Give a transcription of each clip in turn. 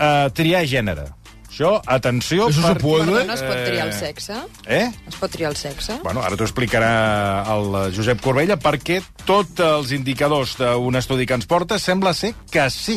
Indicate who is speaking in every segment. Speaker 1: eh, triar gènere. Això, atenció...
Speaker 2: Eso se puede?
Speaker 3: Perdona, es pot triar el sexe?
Speaker 1: Eh?
Speaker 3: Es pot triar el sexe?
Speaker 1: Bueno, ara t'ho explicarà el Josep Corbella, perquè tots els indicadors d'un estudi que ens porta sembla ser que sí.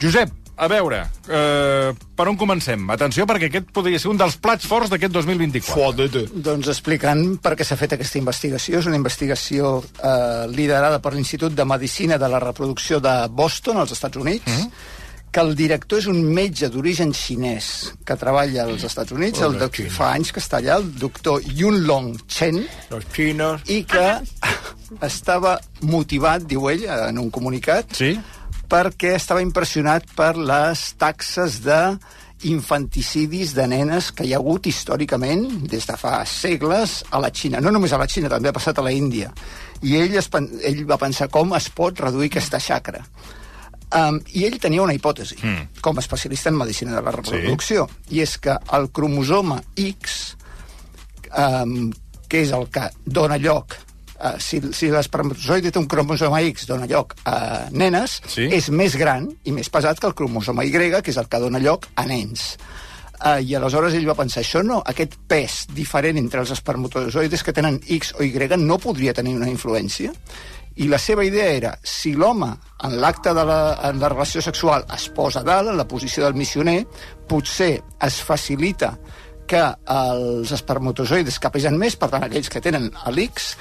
Speaker 1: Josep, a veure, eh, per on comencem? Atenció, perquè aquest podria ser un dels plats forts d'aquest 2024.
Speaker 2: Fodete.
Speaker 4: Doncs explicant per què s'ha fet aquesta investigació. És una investigació eh, liderada per l'Institut de Medicina de la Reproducció de Boston, als Estats Units, mm -hmm. que el director és un metge d'origen xinès que treballa als Estats Units, el doc... fa anys que està allà, el doctor Yunlong Chen,
Speaker 2: Los chinos.
Speaker 4: i que estava motivat, diu ell, en un comunicat,
Speaker 1: Sí?
Speaker 4: perquè estava impressionat per les taxes de infanticidis de nenes que hi ha hagut històricament des de fa segles a la Xina. No només a la Xina, també ha passat a la Índia. I ell, es, pen- ell va pensar com es pot reduir aquesta xacra. Um, I ell tenia una hipòtesi, mm. com a especialista en medicina de la reproducció, sí. i és que el cromosoma X, um, que és el que dona lloc Uh, si si l'espermatozoide té un cromosoma X dona lloc a nenes,
Speaker 1: Sí.
Speaker 4: és més gran i més pesat que el cromosoma Y, que és el que dona lloc a nens. Uh, I aleshores ell va pensar, això no, aquest pes diferent entre els espermatozoides que tenen X o Y no podria tenir una influència? I la seva idea era, si l'home en l'acte de la, en la relació sexual es posa a dalt, en la posició del missioner, potser es facilita que els espermatozoides que pesen més, per tant, aquells que tenen l'X,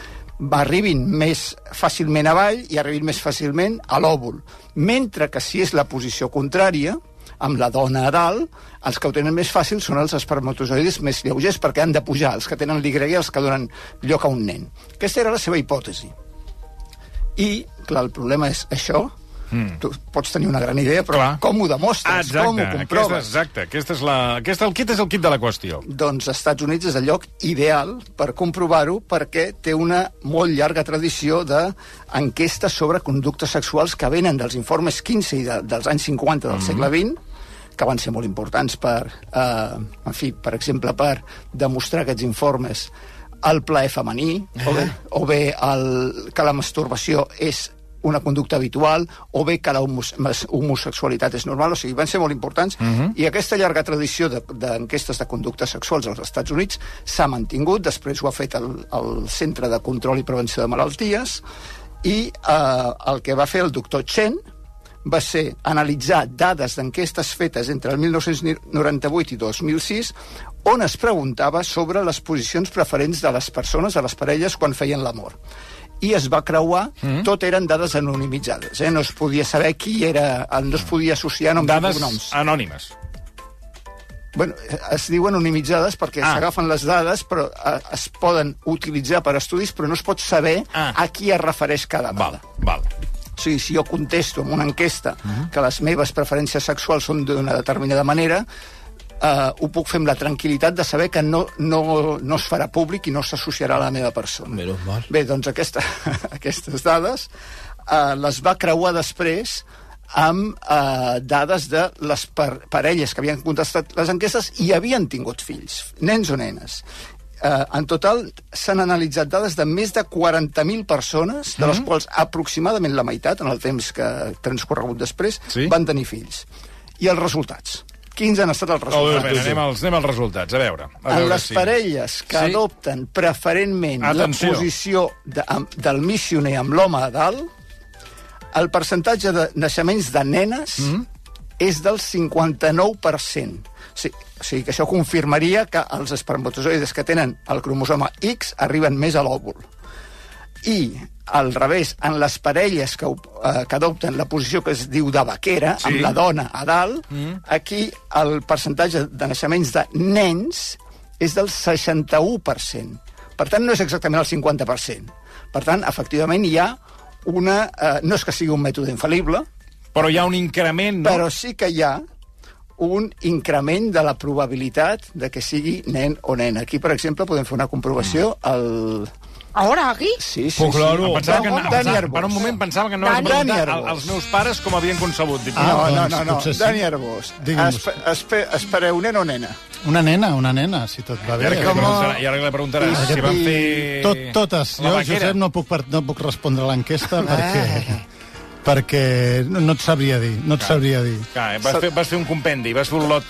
Speaker 4: arribin més fàcilment avall i arribin més fàcilment a l'òvul. Mentre que si és la posició contrària, amb la dona a dalt, els que ho tenen més fàcil són els espermatozoides més lleugers perquè han de pujar, els que tenen l'Y i els que donen lloc a un nen. Aquesta era la seva hipòtesi. I, clar, el problema és això. Mm. Tu pots tenir una gran idea, però
Speaker 1: Hmm. Clar. Ah,
Speaker 4: clar. com ho demostres?
Speaker 1: Exacte,
Speaker 4: com ho
Speaker 1: aquesta,
Speaker 4: comproves?
Speaker 1: exacte. Aquesta és la, aquesta, el kit és el kit de la qüestió.
Speaker 4: Doncs Estats Units és el lloc ideal per comprovar-ho perquè té una molt llarga tradició d'enquestes sobre conductes sexuals que venen dels informes 15 i de, dels anys 50 del mm -hmm. segle XX que van ser molt importants per, eh, en fi, per exemple, per demostrar aquests informes el plaer femení, o bé, o bé el, que la masturbació és una conducta habitual, o bé que la homos mas- homosexualitat és normal, o sigui, van ser molt importants, i aquesta llarga tradició de- d'enquestes de, de conductes sexuals als Estats Units s'ha mantingut, després ho ha fet el, el Centre de Control i Prevenció de Malalties, i eh, el que va fer el doctor Chen va ser analitzar dades d'enquestes fetes entre el 1998 i 2006 on es preguntava sobre les posicions preferents de les persones, de les parelles, quan feien l'amor. I es va creuar, mm. tot eren dades anonimitzades, eh? no es podia saber qui era, no es podia associar noms i
Speaker 1: Dades
Speaker 4: cognoms.
Speaker 1: anònimes.
Speaker 4: Bueno, es diu anonimitzades perquè
Speaker 1: Ah.
Speaker 4: ah. s'agafen les dades, però eh, es poden utilitzar per estudis, però no es pot saber
Speaker 1: Ah.
Speaker 4: ah. a qui es refereix cada dada.
Speaker 1: Val, val.
Speaker 4: O sigui, si jo contesto en una enquesta
Speaker 2: Mhm.
Speaker 4: que les meves preferències sexuals són d'una determinada manera, eh, ho puc fer amb la tranquil·litat de saber que no, no, no es farà públic i no s'associarà a la meva persona.
Speaker 2: Menos mal.
Speaker 4: Bé, doncs aquesta, aquestes dades eh, les va creuar després amb eh, dades de les par parelles que havien contestat les enquestes i havien tingut fills, nens o nenes. Eh, en total s'han analitzat dades de més de 40.000 persones, de les
Speaker 1: Mm-hmm.
Speaker 4: quals aproximadament la meitat, en el temps que ha transcorregut després,
Speaker 1: Sí.
Speaker 4: van tenir fills. I els resultats? Quins han estat els
Speaker 1: Oh, bé,
Speaker 4: resultats?
Speaker 1: bé, anem, als, anem als resultats, a veure. A
Speaker 4: en
Speaker 1: veure
Speaker 4: les
Speaker 1: si-
Speaker 4: parelles que
Speaker 1: Sí.
Speaker 4: sí. adopten preferentment
Speaker 1: Atenció.
Speaker 4: la posició de, amb, del missioner amb l'home a dalt, el percentatge de naixements de nenes
Speaker 1: Mm.
Speaker 4: és del 59%. O sigui, o sigui que això confirmaria que els espermatozoides que tenen el cromosoma X arriben més a l'òvul. I, al revés, en les parelles que, op- eh, que adopten la posició que es diu de vaquera, sí. amb la dona a dalt, mm. aquí el percentatge de naixements de nens és del 61%. Per tant, no és exactament el 50%. Per tant, efectivament, hi ha una... Eh, no és que sigui un mètode infal·lible,
Speaker 1: Però hi ha un increment, no?
Speaker 4: però sí que hi ha un increment de la probabilitat de que sigui nen o nena. Aquí, per exemple, podem fer una
Speaker 1: Mm.
Speaker 4: comprovació al...
Speaker 3: Ahora aquí?
Speaker 4: Sí, sí,
Speaker 1: Però, claro,
Speaker 4: sí.
Speaker 1: pensava que,
Speaker 4: Dani
Speaker 1: pensava-
Speaker 4: Arbós.
Speaker 1: per un moment pensava que no
Speaker 3: Dani-
Speaker 1: vas preguntar
Speaker 4: Dani
Speaker 1: al-
Speaker 4: Arbós.
Speaker 1: als meus pares com havien concebut. Dic,
Speaker 4: No,
Speaker 1: ah,
Speaker 4: no,
Speaker 5: doncs,
Speaker 4: no, no.
Speaker 5: potser sí.
Speaker 4: Dani Arbós.
Speaker 5: Digui'm-ho.
Speaker 4: Espe, espe, espereu, nen o nena?
Speaker 5: Una nena, una nena, si tot va
Speaker 1: I
Speaker 5: bé.
Speaker 1: ara, que li
Speaker 5: Com-
Speaker 1: preguntarà- i ara que li preguntaràs
Speaker 4: I-
Speaker 1: si van
Speaker 4: i-
Speaker 1: fer...
Speaker 5: Tot, totes.
Speaker 1: la
Speaker 5: Jo,
Speaker 1: vaquera.
Speaker 5: Josep, no puc, par- no puc respondre a l'enquesta perquè, perquè no, no et sabria dir, no et sabria dir.
Speaker 1: Clar, eh, vas, fer, vas fer un compendi, vas fer un lot,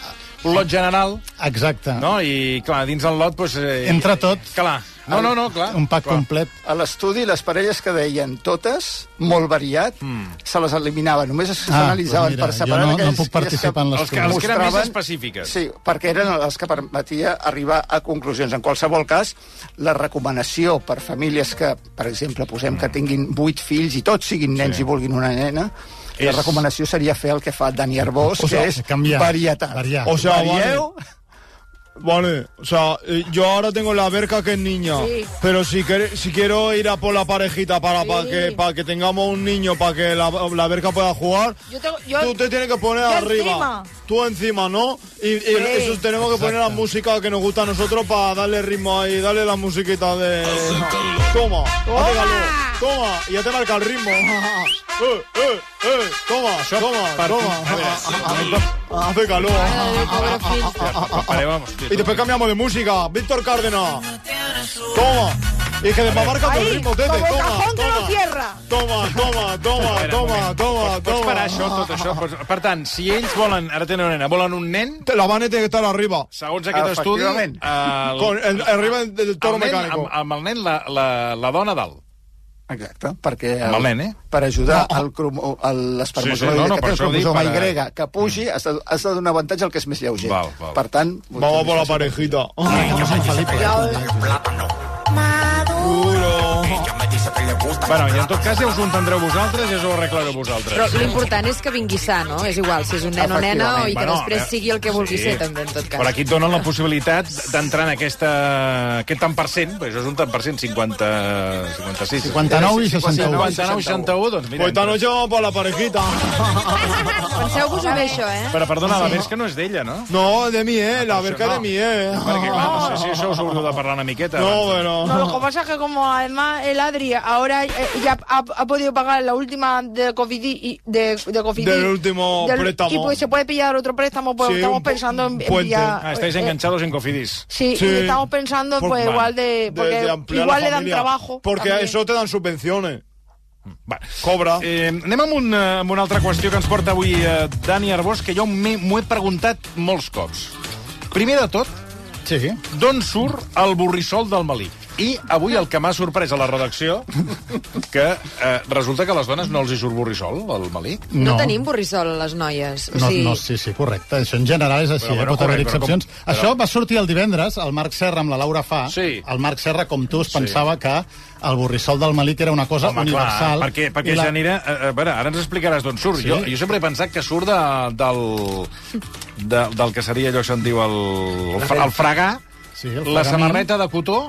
Speaker 1: un lot general,
Speaker 5: Exacte.
Speaker 1: no? I, clar, dins del lot... Doncs, eh,
Speaker 5: Entra tot.
Speaker 1: Clar. No, no, no, clar.
Speaker 5: Un pack
Speaker 1: clar.
Speaker 5: complet.
Speaker 4: A l'estudi, les parelles que deien totes, molt variat, mm. se les eliminava. Només es
Speaker 5: Ah,
Speaker 4: analitzaven
Speaker 5: doncs mira,
Speaker 4: per
Speaker 5: jo
Speaker 4: separar...
Speaker 5: no- no
Speaker 4: aquelles-
Speaker 5: puc participar en
Speaker 4: aquelles
Speaker 5: les
Speaker 1: Els que, els que eren més
Speaker 4: mostraven-
Speaker 1: específiques.
Speaker 4: Sí, perquè eren les que permetia arribar a conclusions. En qualsevol cas, la recomanació per famílies que, per exemple, posem
Speaker 1: Mm.
Speaker 4: que tinguin vuit fills i tots siguin nens sí. i vulguin una nena, és... la
Speaker 1: És-
Speaker 4: recomanació seria fer el que fa Dani Arbós,
Speaker 5: O
Speaker 4: que
Speaker 5: sigui,
Speaker 4: és
Speaker 5: canviar,
Speaker 4: varietat.
Speaker 5: variar.
Speaker 4: O
Speaker 5: O
Speaker 4: sigui,
Speaker 2: sigui,
Speaker 4: Varieu...
Speaker 2: Vale, o sea, eh, yo ahora tengo la verca que es niña,
Speaker 3: Sí.
Speaker 2: Ah. pero si, quer- si quiero ir a por la parejita para, para,
Speaker 3: Sí.
Speaker 2: que, para que tengamos un niño, para que la, la verga pueda jugar,
Speaker 3: Yo tengo- yo-
Speaker 2: tú te tienes que poner
Speaker 3: yo
Speaker 2: arriba.
Speaker 3: encima.
Speaker 2: Tú encima, ¿no? Y, y eso tenemos que poner la música que nos gusta a nosotros para darle ritmo ahí, darle la musiquita de... Toma, toma, toma, y ya te marca el ritmo. Eh, eh, eh, toma, toma,
Speaker 1: per-
Speaker 2: toma. Hace calor.
Speaker 3: Pobre fill.
Speaker 1: Vale,
Speaker 5: Ah,
Speaker 1: vamos.
Speaker 2: Y después cambiamos de música. Víctor Cárdenas. Toma. Y es que después marca todo el ritmo, Tete. Toma, toma. Toma, toma, toma, toma, toma,
Speaker 1: Pots parar
Speaker 2: toma.
Speaker 1: això, tot això? Pots- Per tant, si ells volen, ara tenen una nena, volen un nen,
Speaker 2: Te- Este, La Vane tiene que estar arriba.
Speaker 1: segons aquest estudi... eh,
Speaker 4: Efectivament.
Speaker 1: el-
Speaker 2: Con el- arriba del toro
Speaker 1: el nen,
Speaker 2: mecánico.
Speaker 1: amb, amb el nen, la, la, la dona a dalt.
Speaker 4: Exacte, perquè...
Speaker 1: Amb el nen, eh?
Speaker 4: Per ajudar no. el cromo- el-
Speaker 1: Sí, sí,
Speaker 4: l'espermatozoide
Speaker 1: no, no,
Speaker 4: que
Speaker 1: per
Speaker 4: té el
Speaker 1: això dic,
Speaker 4: cromosoma
Speaker 1: per- Mm.
Speaker 4: Y que pugi, has de, has de donar avantatge al que és més lleuger.
Speaker 1: Val, val.
Speaker 4: Per tant...
Speaker 2: Vamos por la parejita. Duro.
Speaker 1: Bueno, i en tot cas ja us ho entendreu vosaltres, ja us ho arreglareu vosaltres.
Speaker 3: Però l'important és que vingui sa, no? És igual, si és un nen o nena, o i que
Speaker 1: Bueno,
Speaker 3: després
Speaker 1: eh,
Speaker 3: sigui el que vulgui ser, també, en tot cas.
Speaker 1: Però aquí et donen la possibilitat d'entrar en aquesta, aquest tant per cent, perquè això és un tant per cent, Eh, 50, 56.
Speaker 5: 59 i
Speaker 4: 59.
Speaker 5: 61.
Speaker 1: 59, 61, doncs mira...
Speaker 2: Pues esta noche vamos por la parejita.
Speaker 3: Penseu-vos-ho bé, això, eh?
Speaker 1: Però perdona, la més que no és d'ella, no?
Speaker 2: No, de mí, eh. La verga
Speaker 1: no.
Speaker 2: de mí, eh.
Speaker 1: Perquè, clar, no sé si això us haureu de parlar una miqueta.
Speaker 2: No,
Speaker 1: abans.
Speaker 6: No,
Speaker 2: bueno.
Speaker 6: lo que pasa es que como además el Adri ahora eh, ya ha, ha podido pagar la última de Covid y de, de Covid
Speaker 2: Del último préstamo.
Speaker 6: y pues se puede pillar otro préstamo, pues
Speaker 2: Sí,
Speaker 6: estamos
Speaker 2: un pu-
Speaker 6: pensando en,
Speaker 2: un
Speaker 6: en
Speaker 2: puente.
Speaker 6: pillar,
Speaker 1: Ah, estáis
Speaker 6: eh,
Speaker 1: enganchados en Cofidis.
Speaker 6: Sí,
Speaker 2: Sí.
Speaker 6: y estamos pensando
Speaker 1: Por-
Speaker 6: pues
Speaker 1: vale.
Speaker 6: igual de
Speaker 2: De-
Speaker 6: porque
Speaker 2: de ampliar la
Speaker 6: igual le dan
Speaker 2: familia.
Speaker 6: trabajo.
Speaker 2: Porque
Speaker 6: también.
Speaker 2: eso te dan subvenciones.
Speaker 1: Va.
Speaker 2: Cobra.
Speaker 1: Eh, anem amb, un, eh, amb una altra qüestió que ens porta avui eh, Dani Arbós, que jo m'he m'ho he preguntat molts cops. Primer de tot,
Speaker 5: Sí.
Speaker 1: d'on surt el borrissol del Malí? I avui el que m'ha sorprès a la redacció, que eh, resulta que a les dones no els hi surt borrissol, al Malí.
Speaker 3: No, tenim borrissol, les noies. O
Speaker 5: No,
Speaker 3: sigui,
Speaker 5: no, sí, sí, correcte. Això en general és així,
Speaker 1: Però, però,
Speaker 5: però, eh? pot haver
Speaker 1: correcte, però
Speaker 5: excepcions.
Speaker 1: com-
Speaker 5: Com... Això va sortir el divendres, el Marc Serra amb la Laura Fa.
Speaker 1: Sí.
Speaker 5: El Marc Serra, com tu, es pensava que el borrissol del Malic era una cosa universal.
Speaker 1: perquè, perquè
Speaker 5: i
Speaker 1: la... Janira... eh, eh, A veure, ara ens explicaràs d'on surt.
Speaker 5: Sí.
Speaker 1: Sí. Jo, jo sempre he pensat que surt de, del, de, del que seria allò que se'n diu el, el, fra- el fregar,
Speaker 5: Sí, el
Speaker 1: la
Speaker 5: fregament.
Speaker 1: samarreta de cotó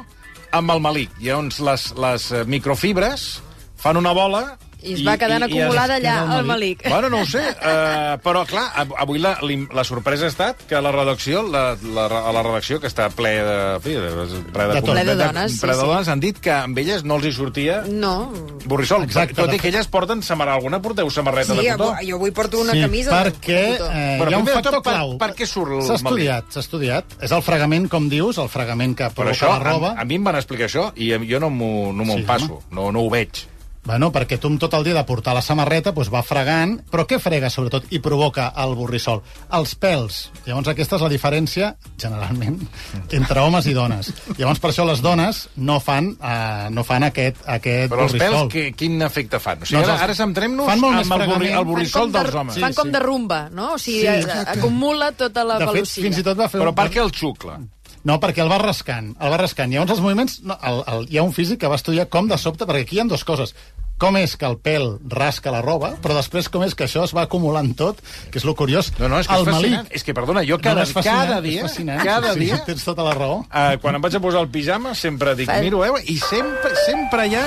Speaker 1: amb el malic. Llavors, les, les eh, microfibres fan una bola
Speaker 3: I es va quedant acumulada allà, el Malik.
Speaker 1: Bueno, no ho sé, uh, però clar, av- avui la, l'im- la sorpresa ha estat que la redacció, la, la, a la redacció que està ple de... Ple de, ple de,
Speaker 3: Ple de dones,
Speaker 1: ple de
Speaker 3: sí, sí.
Speaker 1: dones, han dit que amb elles no els hi sortia
Speaker 3: No,
Speaker 1: borrissol.
Speaker 5: Exacte,
Speaker 1: tot
Speaker 5: de
Speaker 1: i que elles porten samarreta. Alguna porteu samarreta
Speaker 3: Sí,
Speaker 1: de cotó?
Speaker 3: avui, jo avui porto una
Speaker 5: sí,
Speaker 3: camisa
Speaker 5: perquè
Speaker 3: de cotó.
Speaker 1: Però
Speaker 5: eh, hi ha
Speaker 1: primer
Speaker 5: un
Speaker 1: de
Speaker 5: factor
Speaker 1: tot, per-
Speaker 5: clau.
Speaker 1: per què surt el
Speaker 5: S'ha
Speaker 1: Malik?
Speaker 5: estudiat, s'ha estudiat. És el fregament, com dius, el fregament que
Speaker 1: Però
Speaker 5: provoca
Speaker 1: això,
Speaker 5: la roba.
Speaker 1: a, a mi em van explicar això i a- jo no m'ho no sí,
Speaker 5: Sí,
Speaker 1: passo, no, no ho veig.
Speaker 5: Bueno, perquè tu amb tot el dia de portar la samarreta doncs va fregant, però què frega sobretot i provoca el borrissol? Els pèls. Llavors aquesta és la diferència, generalment,
Speaker 1: Mm.
Speaker 5: entre homes i dones. Llavors per això les dones no fan, eh, no fan aquest, aquest
Speaker 1: Però els
Speaker 5: borrissol.
Speaker 1: pèls, que, quin efecte fan? O sigui,
Speaker 5: Doncs
Speaker 1: ara,
Speaker 5: els-
Speaker 1: ara centrem-nos
Speaker 5: fan molt més
Speaker 1: amb el, burri,
Speaker 5: fregament.
Speaker 1: el borrissol
Speaker 3: de,
Speaker 1: dels homes.
Speaker 3: Fan com de rumba, no? O sigui,
Speaker 5: Sí,
Speaker 3: sí,
Speaker 5: exacte.
Speaker 3: acumula tota la
Speaker 5: De fet,
Speaker 3: velocitat.
Speaker 5: fins i tot va fer...
Speaker 1: Però
Speaker 5: un-
Speaker 1: per què el xucla?
Speaker 5: No, perquè el va rascant, el va rascant. Llavors els moviments... No, el, el, hi ha un físic que va estudiar com de sobte, perquè aquí hi ha dues coses. Com és que el pèl rasca la roba, però després com és que això es va acumulant tot, que és lo curiós.
Speaker 1: No, no, és que
Speaker 5: el
Speaker 1: és fascinant.
Speaker 5: malic-
Speaker 1: És que, perdona, jo cada,
Speaker 5: és
Speaker 1: no,
Speaker 5: fascinant,
Speaker 1: cada
Speaker 5: és
Speaker 1: dia,
Speaker 5: fascinant.
Speaker 1: cada
Speaker 5: Sí,
Speaker 1: dia,
Speaker 5: sí, tens tota la raó.
Speaker 1: eh, quan em vaig a posar el pijama, sempre dic,
Speaker 3: Fan-
Speaker 1: miro, eh, i sempre, sempre hi ha...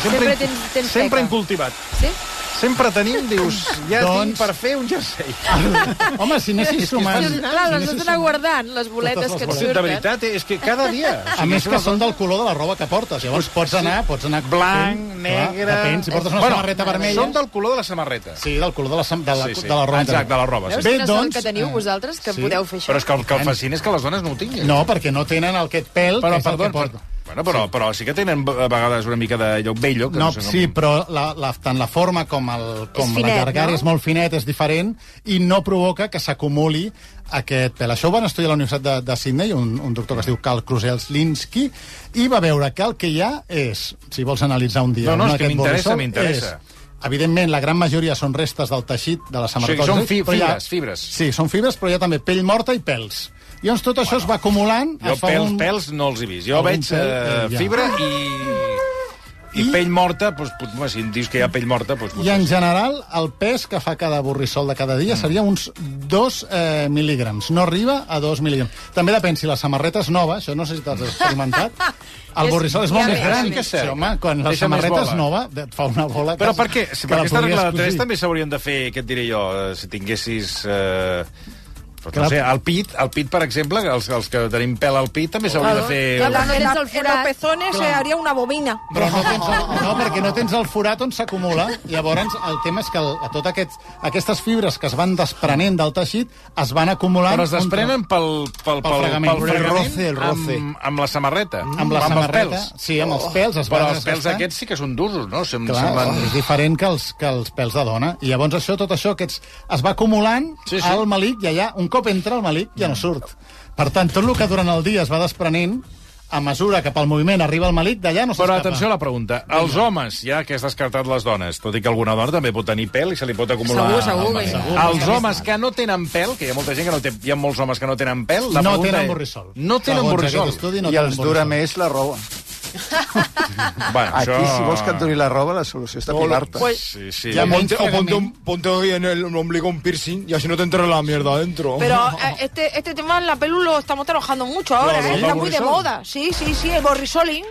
Speaker 3: Sempre tens- tens
Speaker 1: sempre
Speaker 3: teca.
Speaker 1: incultivat.
Speaker 3: Sí?
Speaker 1: Sempre tenim, dius, ja
Speaker 5: Doncs- Ah,
Speaker 1: tinc per fer un jersei.
Speaker 5: Home, si anessis sumant...
Speaker 3: Doncs, Clar, les has
Speaker 5: anessis
Speaker 3: d'anar
Speaker 5: sumant-
Speaker 3: guardant, les boletes
Speaker 5: Totes les
Speaker 3: que et
Speaker 5: boletes.
Speaker 1: Sí,
Speaker 3: surten.
Speaker 1: de veritat, eh, és que cada dia... O
Speaker 5: A
Speaker 1: sigui,
Speaker 5: més
Speaker 1: és
Speaker 5: que
Speaker 1: una
Speaker 5: són del color de la roba que portes. Llavors pots anar, pots anar...
Speaker 1: Blanc,
Speaker 5: fent, clar,
Speaker 1: negre...
Speaker 5: Depèn, si portes una
Speaker 1: Bueno,
Speaker 5: samarreta vermella...
Speaker 1: Són del color de la samarreta.
Speaker 5: Sí, del color de la, sam- de la,
Speaker 1: Sí, sí.
Speaker 5: De la roba.
Speaker 1: Exacte, de la roba, sí.
Speaker 3: Veus
Speaker 5: Bé,
Speaker 3: quina sort
Speaker 5: doncs,
Speaker 3: que teniu
Speaker 5: eh,
Speaker 3: vosaltres, que
Speaker 5: sí.
Speaker 3: podeu fer això.
Speaker 1: Però és que el que el fascina és que les dones no ho tinguin.
Speaker 5: No, perquè no tenen el- aquest pèl,
Speaker 1: però,
Speaker 5: que és el que
Speaker 1: perdó,
Speaker 5: porta.
Speaker 1: bueno, però, sí. però sí que tenen eh, a vegades una mica de lloc bello. Que
Speaker 5: No,
Speaker 1: no, sé
Speaker 5: sí,
Speaker 1: com...
Speaker 5: però la, la, tant la forma com, el, com
Speaker 3: finet,
Speaker 5: la llargària
Speaker 3: no?
Speaker 5: és molt finet, és diferent, i no provoca que s'acumuli aquest pèl. Això ho van estudiar a la Universitat de, de Sydney, un, un doctor que es diu Carl Kruselslinski, i va veure que el que hi ha és, si vols analitzar un dia...
Speaker 1: No, no,
Speaker 5: un
Speaker 1: és que
Speaker 5: d'aquest
Speaker 1: m'interessa,
Speaker 5: borrissol,
Speaker 1: m'interessa.
Speaker 5: és, Evidentment, la gran majoria són restes del teixit de la
Speaker 1: O
Speaker 5: samarreta.
Speaker 1: sigui, són
Speaker 5: del teixit,
Speaker 1: fi-
Speaker 5: però hi
Speaker 1: fibres, fibres.
Speaker 5: Sí, són fibres, però hi ha també pell morta i pèls. Llavors tot això es va acumulant...
Speaker 1: Jo
Speaker 5: es fa
Speaker 1: pèls,
Speaker 5: un-
Speaker 1: pèls no els he vist. Jo
Speaker 5: Algun
Speaker 1: veig
Speaker 5: pèl,
Speaker 1: eh,
Speaker 5: eh, ja.
Speaker 1: fibra i... I,
Speaker 5: I-
Speaker 1: pell morta, doncs, pot- home, si em dius que hi ha pell morta... Doncs,
Speaker 5: I en general, el pes que fa cada borrissol de cada
Speaker 1: Mm.
Speaker 5: dia seria uns 2 eh, mil·lígrams. No arriba a 2 mil·lígrams. També depèn si la samarreta és nova, això no sé si t'has experimentat. El
Speaker 3: És-
Speaker 5: borrissol és
Speaker 3: ja
Speaker 5: molt més
Speaker 3: ve,
Speaker 5: gran.
Speaker 3: sí que
Speaker 1: és cert.
Speaker 5: Sí, home, quan la
Speaker 1: Deixa més
Speaker 5: samarreta
Speaker 1: bola.
Speaker 5: és nova, et fa una bola...
Speaker 1: Però
Speaker 5: que-
Speaker 1: per què? Si
Speaker 5: que
Speaker 1: per
Speaker 5: la
Speaker 1: aquesta
Speaker 5: podries
Speaker 1: regla de 3
Speaker 5: cosir.
Speaker 1: també s'haurien de fer, què et diré jo, eh, si tinguessis... Eh, doncs, no
Speaker 5: Clar.
Speaker 1: sé, el pit, el pit, per exemple, que els, els que tenim pèl al pit també s'hauria de fer...
Speaker 3: Clar,
Speaker 1: una-
Speaker 3: no tens el
Speaker 6: en los
Speaker 3: forat.
Speaker 6: pezones se haría eh, una bobina.
Speaker 5: Però no, tens el, no, perquè no tens el forat on s'acumula. Llavors, el tema és que el, tot aquest, aquestes fibres que es van desprenent del teixit es van acumulant...
Speaker 1: Però es
Speaker 5: on-
Speaker 1: desprenen pel, pel, pel, pel
Speaker 5: fregament.
Speaker 1: pel fregament
Speaker 5: El roce, el roce.
Speaker 1: Amb, amb la samarreta.
Speaker 5: amb la
Speaker 1: els
Speaker 5: samarreta,
Speaker 1: pèls. Oh,
Speaker 5: sí, amb els pèls es
Speaker 1: Però
Speaker 5: van
Speaker 1: els pèls
Speaker 5: desgastant.
Speaker 1: aquests sí que són duros, no? Sem,
Speaker 5: Clar,
Speaker 1: semblen...
Speaker 5: és diferent que els, que els pèls de dona. I llavors això, tot això, aquests, es va acumulant
Speaker 1: Sí,
Speaker 5: sí,
Speaker 1: sí.
Speaker 5: sí. al malic i allà, un cop entra el malic, ja no surt. Per tant, tot el que durant el dia es va desprenent, a mesura que pel moviment arriba al malic, d'allà no
Speaker 1: Però
Speaker 5: s'escapa.
Speaker 1: atenció a la pregunta. Els homes, ja que has descartat les dones, tot i que alguna dona també pot tenir pèl i se li pot acumular...
Speaker 3: Segur, segur,
Speaker 1: el-
Speaker 3: que-
Speaker 5: segur.
Speaker 1: Els homes que no tenen pèl, que hi ha molta gent que no té... Hi ha molts homes que no tenen pèl... La
Speaker 5: No
Speaker 1: pregunta
Speaker 5: tenen
Speaker 1: és-
Speaker 5: borrissol.
Speaker 1: No tenen
Speaker 5: Segons
Speaker 1: borrissol.
Speaker 5: aquest estudi,
Speaker 4: I els
Speaker 5: tenen
Speaker 4: dura
Speaker 5: borrissol.
Speaker 4: més la roba.
Speaker 1: Bueno,
Speaker 4: Aquí, si vols que et duri la roba, la solució és tapilar-te.
Speaker 1: Sí, sí.
Speaker 5: Hi ha
Speaker 2: O
Speaker 5: menys
Speaker 2: ponte, o ponte,
Speaker 5: fregament.
Speaker 2: un, ponte hoy en el ombligo un piercing y así no te entra la mierda adentro.
Speaker 6: Pero eh, este, este tema en la pelu lo estamos trabajando mucho ahora,
Speaker 1: Claro,
Speaker 6: ¿eh?
Speaker 1: ¿el
Speaker 6: está muy de
Speaker 1: borrisol?
Speaker 6: moda. Sí, sí, sí, el borrisoling.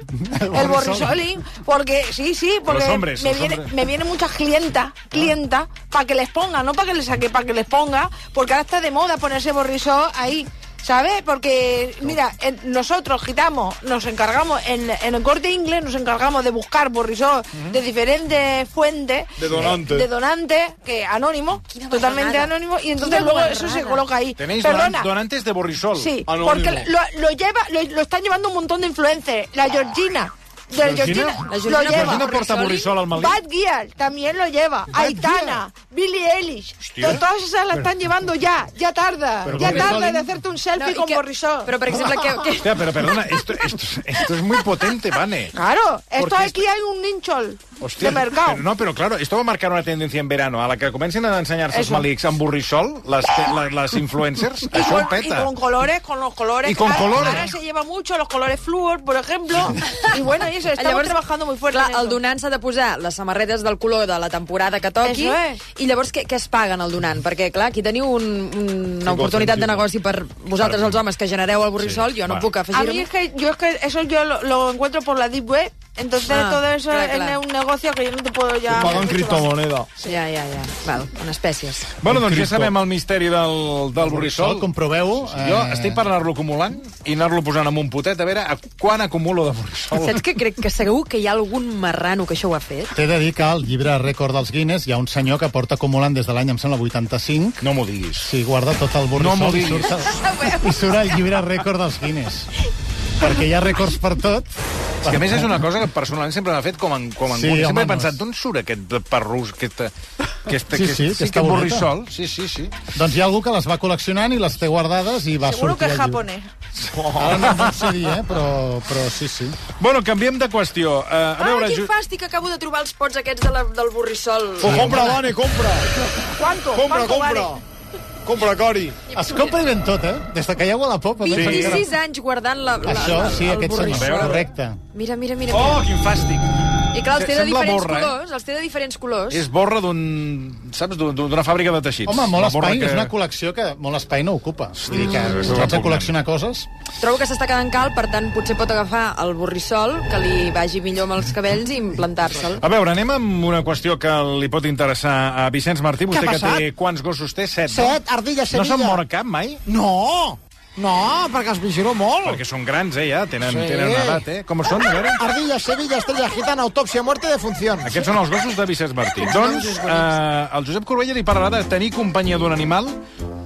Speaker 6: el borrisoling. Porque, sí, sí, porque
Speaker 1: Los hombres,
Speaker 6: me,
Speaker 1: los
Speaker 6: viene,
Speaker 1: hombres.
Speaker 6: me vienen muchas clientas, clientas, para que les ponga, no para que les saque, para que les ponga, porque ahora está de moda ponerse borrisol ahí. ¿Sabes? Porque, mira, en- nosotros gitamos, nos encargamos, en, en el corte inglés nos encargamos de buscar borrisol de diferentes fuentes.
Speaker 2: De donantes.
Speaker 6: eh, de donantes, que anónimos,
Speaker 3: Quina
Speaker 6: totalmente
Speaker 3: guarrada.
Speaker 6: anónimos, y entonces
Speaker 3: Quina
Speaker 6: luego eso
Speaker 3: guarrada.
Speaker 6: se coloca ahí.
Speaker 1: Tenéis
Speaker 6: Perdona.
Speaker 1: donan- donantes de borrissol.
Speaker 6: Sí,
Speaker 2: Anónimo.
Speaker 6: porque lo, lo lleva, lo, lo están llevando un montón de influencers. La Georgina. De Georgina,
Speaker 1: La
Speaker 3: Georgina-
Speaker 6: lo lleva.
Speaker 1: Georgina porta
Speaker 3: Borrissoli.
Speaker 1: borrissol al malí.
Speaker 6: Bad Gear también lo lleva. Aitana, Billie Eilish.
Speaker 1: Hostia.
Speaker 6: To- Todas esas las están llevando ya. Ya tarda. ya
Speaker 5: Borrissoli-
Speaker 6: tarda de hacerte un
Speaker 3: No,
Speaker 6: selfie
Speaker 3: i
Speaker 6: con
Speaker 3: que-
Speaker 6: Borrisol.
Speaker 3: Però, per exemple, que... que...
Speaker 1: Hostia, pero perdona, esto, esto, esto es muy potente, Vane.
Speaker 6: Claro, esto
Speaker 1: Porque
Speaker 6: aquí hay un ninchol
Speaker 1: Hostia,
Speaker 6: de mercado.
Speaker 1: Pero, no, pero claro, esto va a marcar una tendencia en verano. A la que comiencen a enseñarse els
Speaker 6: Eso.
Speaker 1: malics amb burrisol, las, las, las influencers,
Speaker 6: Y
Speaker 1: això ho
Speaker 6: con, y
Speaker 1: peta.
Speaker 6: con colores, con los colores.
Speaker 1: Y con
Speaker 6: Ahora-
Speaker 1: colores.
Speaker 6: Ahora se lleva mucho los colores flúor, por ejemplo. y bueno, y eso, estamos trabajando muy fuerte. en
Speaker 3: Clar, el
Speaker 6: eso.
Speaker 3: donant s'ha de posar les samarretes del color de la temporada que toqui
Speaker 6: Eso es.
Speaker 3: i llavors què, què es paguen el donant? Perquè, clar, aquí teniu un, un, una oportunitat de negoci per vosaltres, els homes, que genereu el borrissol, jo no
Speaker 1: va.
Speaker 3: puc
Speaker 6: A mí
Speaker 3: afegir-me.
Speaker 6: es que yo es que eso yo lo, lo encuentro por la deep web. Entonces
Speaker 3: Ah,
Speaker 6: todo eso
Speaker 3: clar,
Speaker 6: es
Speaker 3: clar.
Speaker 6: un negocio que yo no te puedo ya...
Speaker 2: Pagan criptomoneda.
Speaker 3: Ja, ja, ja. Val, en espècies.
Speaker 1: Bueno, doncs ja
Speaker 5: Cristo.
Speaker 1: sabem el misteri del, del borrissol.
Speaker 5: comproveu-ho. eh.
Speaker 1: Jo estic per anar-lo acumulant i anar-lo posant en un potet a veure a quan acumulo de borrissol.
Speaker 3: Saps que crec que segur que hi ha algun marrano que això ho ha fet?
Speaker 5: T'he de dir que al llibre Rècord dels Guinness hi ha un senyor que porta acumulant des de l'any, em sembla, 85,
Speaker 1: No m'ho diguis.
Speaker 5: si guarda tot el
Speaker 1: No m'ho
Speaker 5: borrissol i,
Speaker 1: diguis.
Speaker 5: surt el, i surt el llibre Rècord dels Guinness. Perquè hi ha rècords per tot.
Speaker 1: És que a més és una cosa que personalment sempre m'ha fet com en, com en
Speaker 5: Sí,
Speaker 1: sí, Sempre
Speaker 5: home,
Speaker 1: he
Speaker 5: no
Speaker 1: pensat,
Speaker 5: és-
Speaker 1: d'on surt aquest perrús, aquest, eh, aquest,
Speaker 5: Sí,
Speaker 1: aquest,
Speaker 5: sí,
Speaker 1: sí,
Speaker 5: aquesta
Speaker 1: aquest
Speaker 5: boleta.
Speaker 1: borrissol? Sí, sí, sí.
Speaker 5: Doncs hi ha algú que les va col·leccionant i les té guardades i va
Speaker 6: Seguro que
Speaker 5: sortir
Speaker 6: es
Speaker 5: al llibre.
Speaker 6: japonés.
Speaker 5: Ara no, no ho sé dir, eh? però, però sí, sí.
Speaker 1: Bueno, canviem de qüestió. Uh, a
Speaker 3: Ah,
Speaker 1: veure,
Speaker 3: quin
Speaker 1: Ju-
Speaker 3: fàstic, acabo de trobar els pots aquests de la, del borrissol.
Speaker 2: Pues compra, Vane, compra.
Speaker 6: ¿Cuánto?
Speaker 2: Compra,
Speaker 6: ¿Cuánto
Speaker 2: compra.
Speaker 6: vale?
Speaker 2: Compra, Cori.
Speaker 5: Es compra i ven tot, eh? Des de que hi ha a la popa. doncs, encara-
Speaker 3: 26 anys guardant la, la,
Speaker 5: Això,
Speaker 3: la,
Speaker 5: sí,
Speaker 3: el
Speaker 5: aquest senyor.
Speaker 3: borrissol.
Speaker 5: Correcte.
Speaker 3: Mira, mira, mira. mira.
Speaker 1: Oh, quin fàstic.
Speaker 3: I clar, els té de
Speaker 1: Sembla
Speaker 3: diferents
Speaker 1: borra, eh?
Speaker 3: colors, els té de diferents colors.
Speaker 1: És borra d'un... Saps? D'un- D'una fàbrica de teixits.
Speaker 5: Home, molt
Speaker 1: La borra
Speaker 5: espai, que... és una col·lecció que molt espai no ocupa. Vull dir que
Speaker 1: és
Speaker 5: si pots
Speaker 1: repugnant.
Speaker 5: col·leccionar coses...
Speaker 3: Trobo que s'està quedant cal, per tant, potser pot agafar el borrissol, que li vagi millor amb els cabells, i implantar-se'l.
Speaker 1: A veure, anem amb una qüestió que li pot interessar a Vicenç Martí. Vostè
Speaker 7: ha
Speaker 1: que
Speaker 7: passat?
Speaker 1: té... Quants gossos té? Set. no?
Speaker 7: Set, ardilla,
Speaker 1: No
Speaker 7: sevilla.
Speaker 1: se'n mor cap, mai?
Speaker 7: No, no, perquè els vigilo molt.
Speaker 1: Perquè són grans, eh, ja. Tenen,
Speaker 7: Sí.
Speaker 1: tenen una edat, eh? Com són, a veure?
Speaker 7: Ardilla, Sevilla, Estrella Gitana, Autopsia, Muerte de Función.
Speaker 1: Aquests són els gossos de Vicenç Martí. Doncs eh, el Josep Corbella li parlarà de tenir companyia d'un animal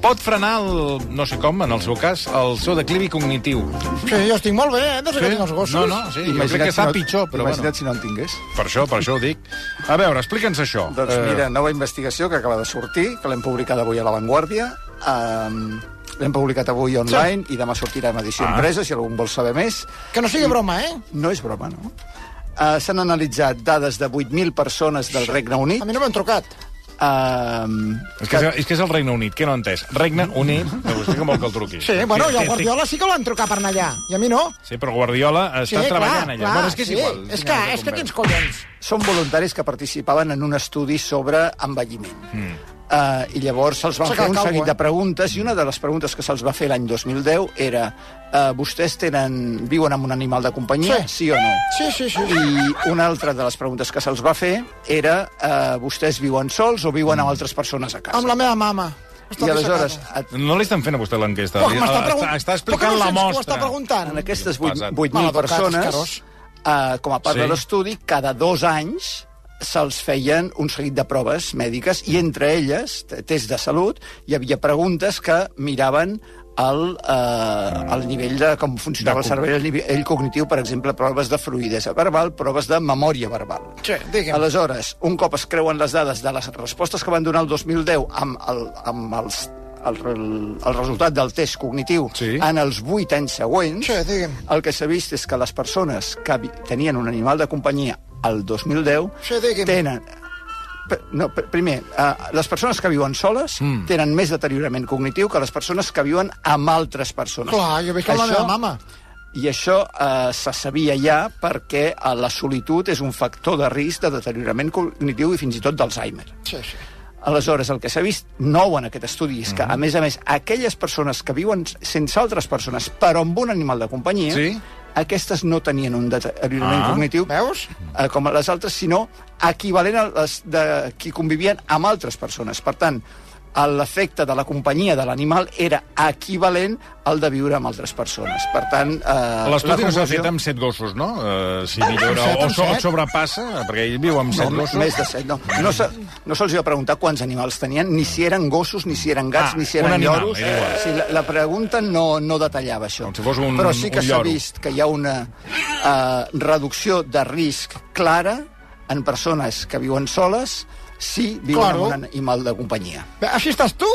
Speaker 1: pot frenar el, no sé com, en el seu cas, el seu declivi cognitiu.
Speaker 7: Sí, jo estic molt bé, eh? No sé
Speaker 1: Sí?
Speaker 7: què tinc els gossos.
Speaker 1: No, no, sí, jo crec que està pitjor, però
Speaker 4: imagina't
Speaker 1: bueno.
Speaker 4: si no en tingués.
Speaker 1: Per això, per això ho dic. A veure, explica'ns això. Eh,
Speaker 4: Doncs mira, nova investigació que acaba de sortir, que l'hem publicat avui a La Vanguardia. Um, l'hem publicat avui online sí. i demà sortirà en edició
Speaker 1: Ah.
Speaker 4: ah. impresa, si algú en vol saber més.
Speaker 7: Que no sigui broma, eh?
Speaker 4: No és broma, no? Uh, S'han analitzat dades de 8.000 persones del Regne Unit.
Speaker 7: A mi no m'han trucat.
Speaker 4: Um,
Speaker 1: És que, és, és que és el Regne Unit, que no he entès. Regne Unit, que vostè que vol que el truqui.
Speaker 7: Sí, bueno,
Speaker 1: sí,
Speaker 7: i
Speaker 1: sí.
Speaker 7: el Guardiola sí que l'han trucat per anar allà. I a mi no.
Speaker 1: Sí, però Guardiola està
Speaker 7: sí,
Speaker 1: treballant
Speaker 7: clar,
Speaker 1: allà.
Speaker 7: Clar,
Speaker 1: bueno, és que és
Speaker 7: sí.
Speaker 1: igual.
Speaker 7: És que, és que quins collons.
Speaker 4: són voluntaris que participaven en un estudi sobre envelliment.
Speaker 1: Hmm.
Speaker 4: Mm. Uh, I llavors se'ls van
Speaker 7: S'ha
Speaker 4: fer
Speaker 7: quedat
Speaker 4: un
Speaker 7: calvo,
Speaker 4: seguit
Speaker 7: eh?
Speaker 4: de preguntes i una de les preguntes que se'ls va fer l'any 2010 era uh, vostès tenen, viuen amb un animal de companyia, sí, sí o no?
Speaker 7: Sí, sí, sí.
Speaker 4: I una altra de les preguntes que se'ls va fer era uh, vostès viuen sols o viuen
Speaker 1: Hmm.
Speaker 4: amb altres persones a casa?
Speaker 7: Amb la meva mama. Està
Speaker 4: I aleshores,
Speaker 7: dissecada.
Speaker 4: et,
Speaker 1: No li estan fent a vostè l'enquesta.
Speaker 7: Poc,
Speaker 1: Li-
Speaker 7: m'està
Speaker 1: està-
Speaker 7: pregun-
Speaker 1: Està
Speaker 7: Poc
Speaker 1: explicant
Speaker 7: no
Speaker 1: la
Speaker 7: sents que ho
Speaker 1: mostra.
Speaker 7: està preguntant.
Speaker 4: en aquestes vuit-
Speaker 1: Passat.
Speaker 4: 8.000
Speaker 7: Mal educat,
Speaker 4: persones,
Speaker 7: escarós.
Speaker 4: uh, com a part
Speaker 1: Sí.
Speaker 4: de l'estudi, cada dos anys se'ls feien un seguit de proves mèdiques i entre elles, t- test de salut, hi havia preguntes que miraven el, eh, el nivell de com funcionava el cervell, el nivell cognitiu, per exemple, proves de fluidesa verbal, proves de memòria verbal.
Speaker 7: Sí, digue'm.
Speaker 4: Aleshores, un cop es creuen les dades de les respostes que van donar el 2010 amb, el, amb els, el, el, el resultat del test cognitiu
Speaker 1: Sí.
Speaker 4: en els 8 anys següents,
Speaker 7: Sí, digui'm.
Speaker 4: el que s'ha vist és que les persones que vi- tenien un animal de companyia el 2010
Speaker 7: Sí, digui'm.
Speaker 4: tenen... P- No, pr- primer, uh, les persones que viuen soles mm. tenen més deteriorament cognitiu que les persones que viuen amb altres persones.
Speaker 7: Clar, jo veig que amb la meva mama.
Speaker 4: I això eh, se sabia ja perquè eh, la solitud és un factor de risc de deteriorament cognitiu i fins i tot d'Alzheimer.
Speaker 7: Sí, sí.
Speaker 4: Aleshores, el que s'ha vist nou en aquest estudi és
Speaker 1: Mhm.
Speaker 4: que, a més a més, aquelles persones que viuen sense altres persones, però amb un animal de companyia,
Speaker 1: Sí.
Speaker 4: aquestes no tenien un deteriorament
Speaker 1: Ah,
Speaker 4: cognitiu
Speaker 7: veus?
Speaker 4: eh, com les altres, sinó equivalent a les de qui convivien amb altres persones. Per tant, l'efecte de la companyia de l'animal era equivalent al de viure amb altres persones. Per tant, eh, la
Speaker 1: L'estudi no s'ha
Speaker 4: conclusió-
Speaker 1: fet amb set gossos, no? Uh, si millora
Speaker 7: Set
Speaker 1: o,
Speaker 7: amb
Speaker 1: so, o
Speaker 7: set?
Speaker 1: sobrepassa, perquè ell viu amb set
Speaker 4: No,
Speaker 1: gossos.
Speaker 4: més de set, no. No, se, no se'ls va preguntar quants animals tenien, ni si eren gossos, ni si eren gats,
Speaker 1: Ah,
Speaker 4: ni si
Speaker 1: un
Speaker 4: eren
Speaker 1: animal,
Speaker 4: lloros.
Speaker 1: era igual.
Speaker 4: Sí, la, la pregunta no, no detallava això.
Speaker 1: Com si fos un-
Speaker 4: Però sí que
Speaker 1: un
Speaker 4: s'ha
Speaker 1: lloro.
Speaker 4: vist que hi ha una eh, reducció de risc clara en persones que viuen soles si viuen
Speaker 7: Claro.
Speaker 4: amb un animal de companyia.
Speaker 7: Bé, Així estàs tu,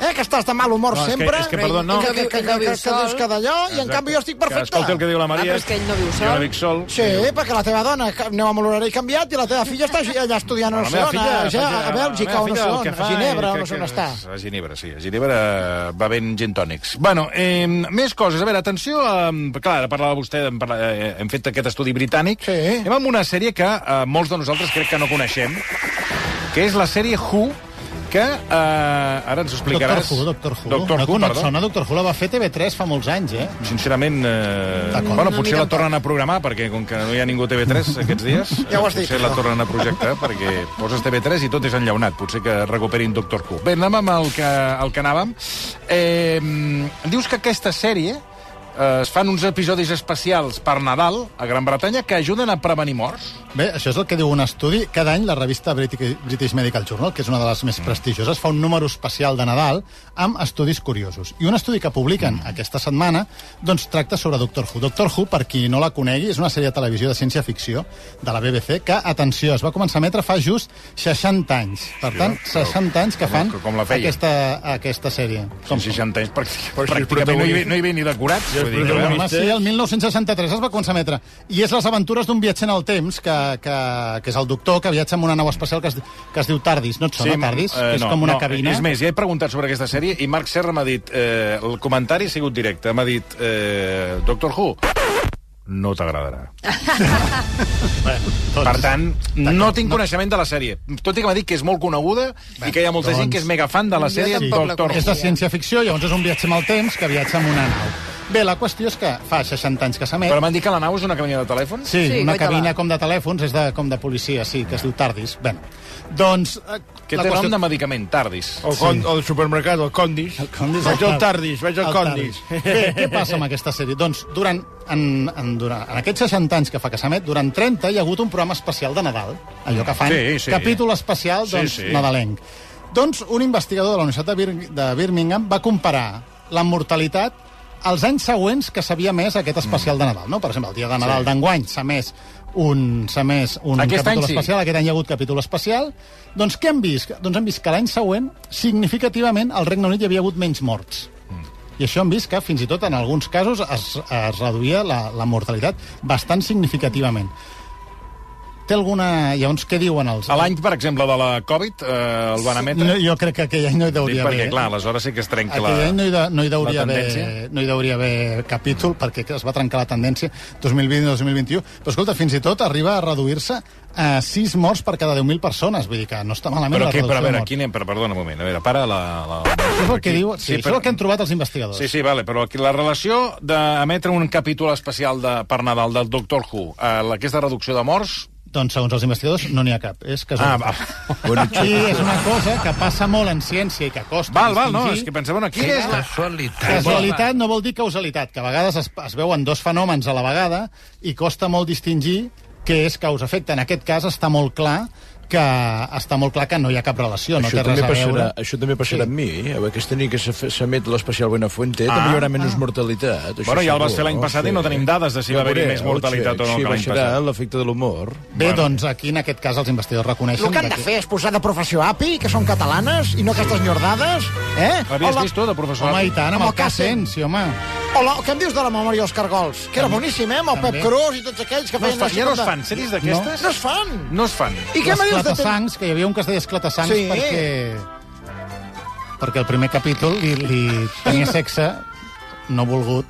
Speaker 7: eh, que estàs de mal humor
Speaker 1: No, és que-
Speaker 7: sempre. eh,
Speaker 1: és que, perdó, no.
Speaker 7: Que, que, que, que, que, que dius que d'allò, i en
Speaker 1: Exacte.
Speaker 7: canvi jo estic
Speaker 1: Que
Speaker 7: perfecte.
Speaker 1: escolti el que diu la Maria.
Speaker 3: Ah, però és que ell no viu
Speaker 1: Jo
Speaker 3: sol.
Speaker 1: no vic sol.
Speaker 7: Sí, perquè la teva dona ca- aneu amb l'horari canviat i la teva filla està així, allà estudiant a
Speaker 1: La meva
Speaker 7: Barcelona,
Speaker 1: filla,
Speaker 7: ja,
Speaker 1: faig- la
Speaker 7: a Bèlgica,
Speaker 1: meva
Speaker 7: o no
Speaker 1: filla
Speaker 7: sé
Speaker 1: el
Speaker 7: on,
Speaker 1: que
Speaker 7: a
Speaker 1: fa,
Speaker 7: Ginebra,
Speaker 1: crec
Speaker 7: o no sé
Speaker 1: que
Speaker 7: on està.
Speaker 1: és A Ginebra, sí. A Ginebra eh, va ben gin tònics. Bueno, eh, més coses. A veure, atenció, eh, clar, ara parlava vostè, hem, parla, eh, hem fet aquest estudi britànic.
Speaker 7: Sí.
Speaker 1: Anem amb una sèrie que eh, molts de nosaltres crec que no coneixem, que és la sèrie Who, que eh, ara ens ho
Speaker 5: Doctor
Speaker 1: explicaràs.
Speaker 5: Who, Doctor Who.
Speaker 1: Doctor Who,
Speaker 5: no, no et
Speaker 1: perdó.
Speaker 5: sona Doctor Who? La va fer TV3 fa molts anys, eh?
Speaker 1: Sincerament, eh,
Speaker 5: D'acord.
Speaker 1: bueno,
Speaker 5: No,
Speaker 1: potser la tornen a programar, perquè com que no hi ha ningú a TV3 aquests dies,
Speaker 7: Ja ho has
Speaker 1: potser
Speaker 7: dit,
Speaker 1: la
Speaker 7: això.
Speaker 1: tornen a projectar, perquè poses TV3 i tot és enllaunat. Potser que recuperin Doctor Who. Bé, anem amb el que, el que anàvem. Eh, dius que aquesta sèrie eh, es fan uns episodis especials per Nadal a Gran Bretanya que ajuden a prevenir morts.
Speaker 5: Bé, això és el que diu un estudi. Cada any la revista Briti- British Medical Journal, que és una de les més
Speaker 1: Mm.
Speaker 5: prestigioses, fa un número especial de Nadal amb estudis curiosos. I un estudi que
Speaker 1: Mm.
Speaker 5: publiquen aquesta setmana doncs tracta sobre Doctor Who. Doctor Who, per qui no la conegui, és una sèrie de televisió de ciència-ficció de la BBC que, atenció, es va començar a emetre fa just 60 anys. Per tant, 60 anys que fan
Speaker 1: com la feien.
Speaker 5: aquesta, aquesta sèrie.
Speaker 1: Com 60 anys, pràctic,
Speaker 2: Però si el
Speaker 1: pràcticament no hi, ve-
Speaker 2: protagonista-
Speaker 1: no hi ve ni decorats.
Speaker 2: Si el
Speaker 1: vull dir que-
Speaker 2: protagonista-
Speaker 5: Home, sí, el 1963 es va començar a emetre. I és les aventures d'un viatger en el temps, que, que, que és el doctor, que viatja amb una nau espacial que es, que es diu Tardis. No et sona, Tardis?
Speaker 1: eh,
Speaker 5: que és com una cabina.
Speaker 1: És més, ja he preguntat sobre aquesta sèrie i Marc Serra m'ha dit... Eh, el comentari ha sigut directe. M'ha dit... Eh, Doctor Who, no t'agradarà.
Speaker 5: Tots.
Speaker 1: Per tant, no tinc coneixement de la sèrie. Tot i que m'ha dit que és molt coneguda i que hi ha molta
Speaker 5: doncs-
Speaker 1: gent que és mega fan de la
Speaker 3: Jo
Speaker 1: sèrie
Speaker 3: tampoc la
Speaker 1: Doctor
Speaker 5: és de
Speaker 1: Who.
Speaker 5: ciència-ficció, llavors és un viatge amb el temps que viatja amb una nau. Bé, la qüestió és que fa 60 anys que s'emet.
Speaker 1: Però m'han dit que la nau és una cabina de telèfon?
Speaker 5: Sí,
Speaker 3: Sí,
Speaker 5: sí una
Speaker 3: guaita
Speaker 5: cabina
Speaker 3: va.
Speaker 5: com de telèfons, és de, com de policia, sí, que es diu Tardis. Bé, doncs... eh,
Speaker 1: Que
Speaker 5: la
Speaker 1: té
Speaker 5: qüestió-
Speaker 1: nom de medicament, Tardis.
Speaker 2: O, con, o el supermercat, el Condis.
Speaker 5: El Condis,
Speaker 2: Vaig
Speaker 5: el
Speaker 2: al
Speaker 5: Tardis.
Speaker 2: Tardis, vaig al
Speaker 5: El
Speaker 2: Condis.
Speaker 5: Tardis. Bé, què passa amb aquesta sèrie? Doncs durant, en, en, durant, en aquests 60 anys que fa que s'emet, durant 30 hi ha hagut un programa especial de Nadal. Allò que fan,
Speaker 1: Sí, sí.
Speaker 5: capítol especial
Speaker 1: Sí,
Speaker 5: doncs,
Speaker 1: sí.
Speaker 5: nadalenc. Doncs un investigador de la Universitat de, Bir de Birmingham va comparar la mortalitat als anys següents que s'havia més aquest especial de Nadal. No? Per exemple, el dia de Nadal d'enguany s'ha més un, s'ha més un
Speaker 1: Aquest
Speaker 5: capítol
Speaker 1: any sí.
Speaker 5: especial, aquest any hi ha hagut capítol especial. Doncs què hem vist? Doncs hem vist que l'any següent, significativament, al Regne Unit hi havia hagut menys morts.
Speaker 1: Mm.
Speaker 5: I això hem vist que, fins i tot, en alguns casos es, es reduïa la, la mortalitat bastant significativament. Té alguna... Llavors, què diuen els...
Speaker 1: A l'any, per exemple, de la Covid, eh, el van emetre?
Speaker 5: No, jo crec que aquell any no hi
Speaker 1: Dic
Speaker 5: deuria
Speaker 1: perquè,
Speaker 5: haver... eh?
Speaker 1: clar, aleshores sí que es trenca la...
Speaker 5: Aquell any no hi, de, no hi
Speaker 1: la
Speaker 5: deuria
Speaker 1: tendència.
Speaker 5: haver, no hi deuria haver capítol, perquè es va trencar la tendència 2020-2021. Però, escolta, fins i tot arriba a reduir-se a 6 morts per cada 10.000 persones. Vull dir que no està malament
Speaker 1: Però,
Speaker 5: la
Speaker 1: què,
Speaker 5: reducció
Speaker 1: però a veure,
Speaker 5: de morts.
Speaker 1: quin... Però, perdona un moment, a veure, para la... la...
Speaker 5: Això és el que,
Speaker 1: aquí.
Speaker 5: diu, sí,
Speaker 1: Sí,
Speaker 5: això
Speaker 1: però-
Speaker 5: és el que han trobat els investigadors.
Speaker 1: Sí, sí, vale, però aquí la relació d'emetre un capítol especial de, per Nadal del Doctor Who, a la- aquesta reducció de morts...
Speaker 5: Doncs, segons els investigadors, no n'hi ha cap.
Speaker 1: Ah,
Speaker 5: És casualitat.
Speaker 1: va.
Speaker 8: Bueno,
Speaker 5: Sí, és una cosa que passa molt en ciència i que costa
Speaker 1: Val, val, no,
Speaker 5: distingir.
Speaker 1: és que pensava, bueno, aquí és la...
Speaker 5: Casualitat no vol dir causalitat, que a vegades es, es veuen dos fenòmens a la vegada i costa molt distingir què és causa-efecte. En aquest cas està molt clar que està molt clar que no hi ha cap relació, no
Speaker 9: això,
Speaker 5: té res
Speaker 9: també
Speaker 5: a veure.
Speaker 9: passarà, eh, això també passarà
Speaker 5: Sí.
Speaker 9: amb mi. eh? Aquesta nit que s'ef- s'emet l'especial Buenafuente,
Speaker 1: Ah.
Speaker 9: també hi haurà menys mortalitat. Això
Speaker 1: Bueno, ja el vas
Speaker 9: segur,
Speaker 1: fer l'any passat i no tenim dades de si
Speaker 9: Ja
Speaker 1: va haver-hi
Speaker 9: veuré,
Speaker 1: més mortalitat
Speaker 9: ho
Speaker 1: o
Speaker 9: sé.
Speaker 1: no que l'any
Speaker 9: Sí, baixarà
Speaker 1: passat.
Speaker 9: l'efecte de l'humor.
Speaker 5: Bé, doncs aquí en aquest cas els investigadors reconeixen...
Speaker 7: El que han de
Speaker 5: que-
Speaker 7: fer és posar de professió API, que són catalanes, i no aquestes nyordades, eh?
Speaker 1: L'havies
Speaker 7: Hola.
Speaker 1: vist tu, de professor?
Speaker 5: Home, i tant, amb
Speaker 7: Com
Speaker 5: el
Speaker 7: el
Speaker 5: cas
Speaker 7: Cassen.
Speaker 5: sí, home.
Speaker 7: O la, què em dius de la memòria dels cargols? Que era boníssim, eh? Amb el
Speaker 5: També.
Speaker 7: Pep Cruz i tots aquells que
Speaker 1: no es
Speaker 7: feien...
Speaker 1: fan, ja no es
Speaker 7: segona-
Speaker 1: fan sèries d'aquestes?
Speaker 7: No es fan.
Speaker 1: No es fan.
Speaker 7: I
Speaker 5: Les
Speaker 7: què me dius de... Ten...
Speaker 5: clatasangs, que hi havia un que es deia esclatasangs
Speaker 7: Sí.
Speaker 5: perquè... Perquè el primer capítol li, li tenia sexe no volgut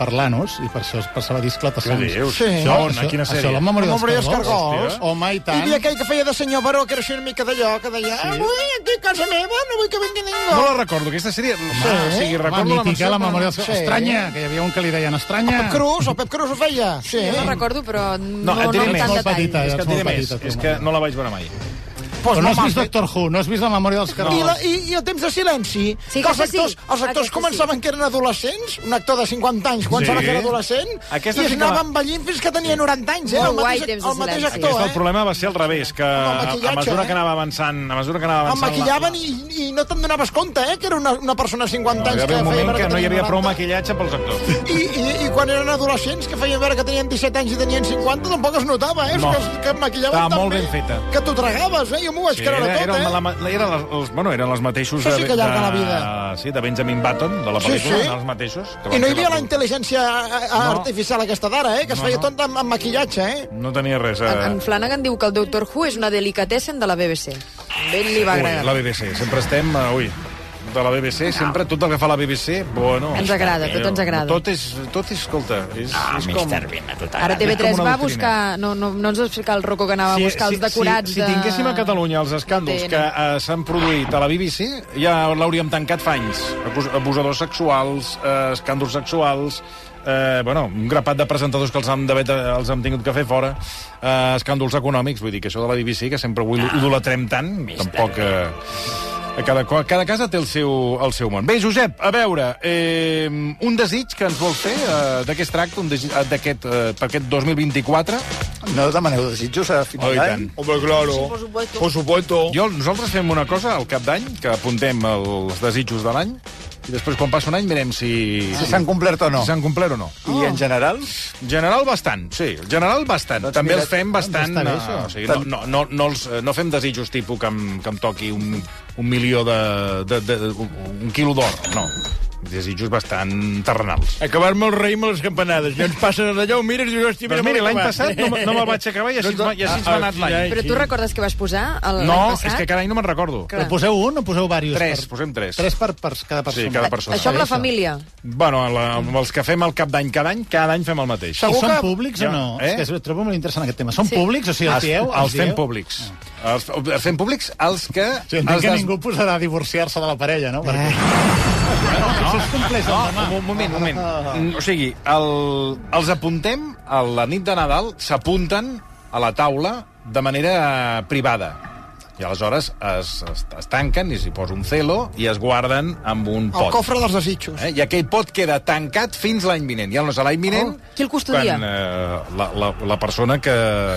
Speaker 5: per l'anus, i per això es passava a dir
Speaker 1: Què
Speaker 5: esclatasangs.
Speaker 1: dius?
Speaker 7: Sí.
Speaker 5: Això,
Speaker 1: No,
Speaker 5: això,
Speaker 1: a quina
Speaker 5: Això,
Speaker 1: sèrie?
Speaker 5: la memòria
Speaker 7: La
Speaker 5: dels
Speaker 7: memòria dels
Speaker 5: cargols.
Speaker 7: cargols.
Speaker 5: Hòstia. Home, i
Speaker 7: I
Speaker 5: tant.
Speaker 7: havia aquell que feia de senyor baró, que era així una mica d'allò, que deia... Sí. Avui aquí a casa meva, no vull que vingui ningú.
Speaker 1: No la recordo, aquesta sèrie... Ah, Sí, o sigui,
Speaker 5: Home,
Speaker 1: recordo la
Speaker 5: mítica,
Speaker 1: menció,
Speaker 5: eh? la
Speaker 1: però
Speaker 5: memòria
Speaker 1: no-
Speaker 5: dels cargols.
Speaker 7: Sí.
Speaker 5: Estranya, que hi havia un que li deien estranya.
Speaker 7: Pep Cruz, el Pep Cruz ho feia. Sí.
Speaker 3: Jo no recordo, però no,
Speaker 1: et
Speaker 3: no,
Speaker 1: diré
Speaker 3: no
Speaker 1: més.
Speaker 3: tant
Speaker 5: Molt
Speaker 3: detall.
Speaker 5: petita,
Speaker 1: És que
Speaker 5: és
Speaker 1: et diré
Speaker 5: molt
Speaker 1: més,
Speaker 5: petita. tu,
Speaker 1: és que
Speaker 5: Maria.
Speaker 1: no la vaig veure mai.
Speaker 7: Pues
Speaker 5: Però no has
Speaker 7: m'has
Speaker 5: vist
Speaker 7: dit.
Speaker 5: Doctor Who, no has vist la memòria dels
Speaker 7: I, la,
Speaker 5: cargols.
Speaker 7: i, I el temps de silenci,
Speaker 3: Sí,
Speaker 7: que els
Speaker 3: aquesta sí.
Speaker 7: actors, els actors
Speaker 3: Aquesta
Speaker 7: començaven que eren adolescents, un actor de 50 anys començava
Speaker 1: Sí.
Speaker 7: que era adolescent,
Speaker 1: Aquesta
Speaker 7: i
Speaker 1: sí que
Speaker 7: es
Speaker 1: va-
Speaker 7: anava envellint fins que tenia 90 anys, eh?
Speaker 3: Molt
Speaker 7: El mateix,
Speaker 3: guai, temps de
Speaker 7: el mateix
Speaker 3: silenci.
Speaker 7: actor,
Speaker 1: Aquest, el
Speaker 7: eh?
Speaker 1: problema va ser al revés, que a, a
Speaker 7: maquillatge,
Speaker 1: mesura
Speaker 7: eh?
Speaker 1: que anava avançant... A mesura que anava
Speaker 7: El
Speaker 1: avançant... la-
Speaker 7: maquillaven i, i no te'n donaves compte, eh? Que era una, una persona de 50
Speaker 1: Hi
Speaker 7: anys
Speaker 1: va haver un
Speaker 7: feia
Speaker 1: moment
Speaker 7: veure
Speaker 1: que no hi
Speaker 7: tenia
Speaker 1: havia prou
Speaker 7: 90.
Speaker 1: maquillatge pels actors.
Speaker 7: I, i, I quan eren adolescents, que feien veure que tenien 17 anys i tenien 50, tampoc es notava, eh?
Speaker 1: No.
Speaker 7: Que, es- que et maquillaven
Speaker 1: Estava
Speaker 7: tan
Speaker 1: molt
Speaker 7: bé
Speaker 1: ben feta.
Speaker 7: Que t'ho tragaves, eh? Jo m'ho vaig
Speaker 1: Sí,
Speaker 7: creure
Speaker 1: era,
Speaker 7: tot,
Speaker 1: era,
Speaker 7: eh?
Speaker 1: la, la, era les, els, bueno, eren els mateixos
Speaker 7: Això sí que allarga
Speaker 1: de,
Speaker 7: la vida.
Speaker 1: Sí, de Benjamin Button, de la
Speaker 7: Sí,
Speaker 1: pel·lícula,
Speaker 7: sí.
Speaker 1: eren els mateixos. que
Speaker 7: I
Speaker 1: van
Speaker 7: no hi
Speaker 1: fer
Speaker 7: havia
Speaker 1: la-
Speaker 7: la intel·ligència eh, artificial aquesta d'ara, eh? Que es
Speaker 1: No,
Speaker 7: feia
Speaker 1: no.
Speaker 7: tot amb, amb maquillatge, eh?
Speaker 1: No tenia res a...
Speaker 3: En, en Flanagan diu que el Doctor Who és una delicatessen de la BBC. Ben li va
Speaker 1: Ui,
Speaker 3: agradar.
Speaker 1: la BBC, sempre estem... eh, Ui, de la BBC, no. sempre tot el que fa la BBC, bueno...
Speaker 3: Ens agrada, tot ens agrada.
Speaker 1: Tot és, tot és escolta, és,
Speaker 7: Ah,
Speaker 1: és com...
Speaker 7: Mr. Bean, a total.
Speaker 3: Ara
Speaker 1: És
Speaker 3: TV3
Speaker 1: com una
Speaker 3: va
Speaker 1: doctrina.
Speaker 3: buscar... No, no, no ens va explicar el Rocco que anava a buscar els decorats
Speaker 1: si, si
Speaker 3: de...
Speaker 1: tinguéssim a Catalunya els escàndols
Speaker 3: TN.
Speaker 1: que eh, s'han produït a la BBC, ja l'hauríem tancat fa anys. Acus- Abusadors sexuals, eh, escàndols sexuals... Eh, bueno, un grapat de presentadors que els han, d'haver- els han tingut que fer fora eh, escàndols econòmics, vull dir que això de la BBC que sempre avui idolatrem tant tampoc eh, a cada, co- cada casa té el seu, el seu món bé Josep, a veure eh, un desig que ens vol fer eh, de què es tracta un desig, eh, d'aquest, eh, per aquest 2024
Speaker 4: No demaneu desitjos a
Speaker 1: Oh,
Speaker 4: final
Speaker 1: i
Speaker 4: d'any?
Speaker 1: tant.
Speaker 2: Hombre, claro.
Speaker 6: por supuesto.
Speaker 2: Por supuesto.
Speaker 1: Jo, nosaltres fem una cosa al cap d'any, que apuntem els desitjos de l'any, i després, quan passa un any, mirem si...
Speaker 4: Si s'han complert o no.
Speaker 1: si s'han complert o no. Ah.
Speaker 4: I
Speaker 5: Oh.
Speaker 4: en general,
Speaker 1: General, bastant, sí. General, bastant.
Speaker 4: Doncs
Speaker 1: També
Speaker 4: mira,
Speaker 1: els fem bastant...
Speaker 5: està bé,
Speaker 1: eh,
Speaker 5: això.
Speaker 1: o sigui, no, no, no, no, els, eh, no fem desitjos tipus que em, que em toqui un, un milió de... de, de, de un quilo d'or, no. Desitjos bastant terrenals.
Speaker 7: Acabar-me el raïm a les campanades. I ens passen allò, ho mires i dius, hòstia,
Speaker 1: Doncs
Speaker 7: mira,
Speaker 1: miri,
Speaker 7: com
Speaker 1: l'any
Speaker 7: acaba.
Speaker 1: passat no, me- no me'l vaig acabar i així, no, ah, i així ens va anat l'any.
Speaker 3: Però tu recordes què vas posar el-
Speaker 1: No,
Speaker 3: l'any
Speaker 1: és
Speaker 3: passat?
Speaker 1: que cada any no me'n recordo.
Speaker 3: Clar.
Speaker 5: Però poseu un o poseu diversos?
Speaker 1: Tres, posem tres.
Speaker 5: Tres per, per cada persona.
Speaker 1: cada persona.
Speaker 3: Això amb la
Speaker 5: Això.
Speaker 3: família.
Speaker 1: Bueno, la, amb els que fem el cap d'any cada any, cada any fem el mateix.
Speaker 5: I són
Speaker 1: que...
Speaker 5: públics o no?
Speaker 1: Eh?
Speaker 5: Eh? És que es trobo molt interessant aquest tema. Són sí. públics? O sigui, els Ah. dieu?
Speaker 1: els, els fem públics. Els, els fem públics els que...
Speaker 5: Sí, entenc
Speaker 1: els
Speaker 5: que
Speaker 1: des-
Speaker 5: ningú posarà a divorciar-se de la parella, no? Perquè... No, no, si Eh. es compleix el demà. Ah.
Speaker 1: Un moment, un moment. Mm, O sigui, el, els apuntem a la nit de Nadal, s'apunten a la taula de manera eh, privada. I aleshores es, es, es tanquen i s'hi posa un celo i es guarden amb un pot.
Speaker 7: El cofre dels desitjos.
Speaker 1: Eh? I aquell pot queda tancat fins l'any vinent. I llavors a l'any vinent...
Speaker 3: Oh, qui el custodia?
Speaker 1: Quan, eh, la, la, la persona que,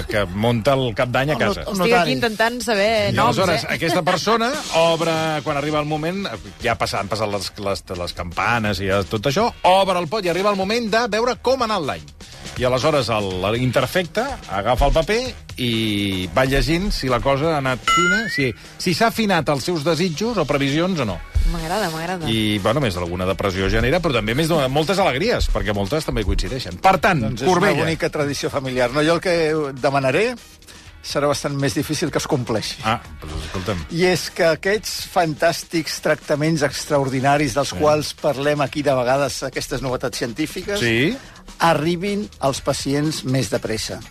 Speaker 1: que munta el cap d'any a casa.
Speaker 7: El
Speaker 3: Estic
Speaker 7: notari.
Speaker 3: aquí intentant saber
Speaker 1: I
Speaker 3: noms,
Speaker 1: aleshores,
Speaker 3: eh?
Speaker 1: aquesta persona obre, quan arriba el moment, ja passa, han passat les, les, les campanes i ja tot això, obre el pot i arriba el moment de veure com ha anat l'any. I aleshores el- l'interfecte agafa el paper i va llegint si la cosa ha anat fina, si si s'ha afinat els seus desitjos o previsions o no.
Speaker 3: M'agrada, m'agrada.
Speaker 1: I, bueno, més d'alguna depressió genera, però també més de moltes alegries, perquè moltes també coincideixen. Per tant,
Speaker 4: doncs és una
Speaker 1: Corbella...
Speaker 4: bonica tradició familiar. No, jo el que demanaré serà bastant més difícil que es compleixi.
Speaker 1: Ah, doncs escolta'm.
Speaker 4: I és que aquests fantàstics tractaments extraordinaris dels quals parlem aquí de vegades, aquestes novetats científiques,
Speaker 1: Sí?
Speaker 4: arribin als pacients més de pressa.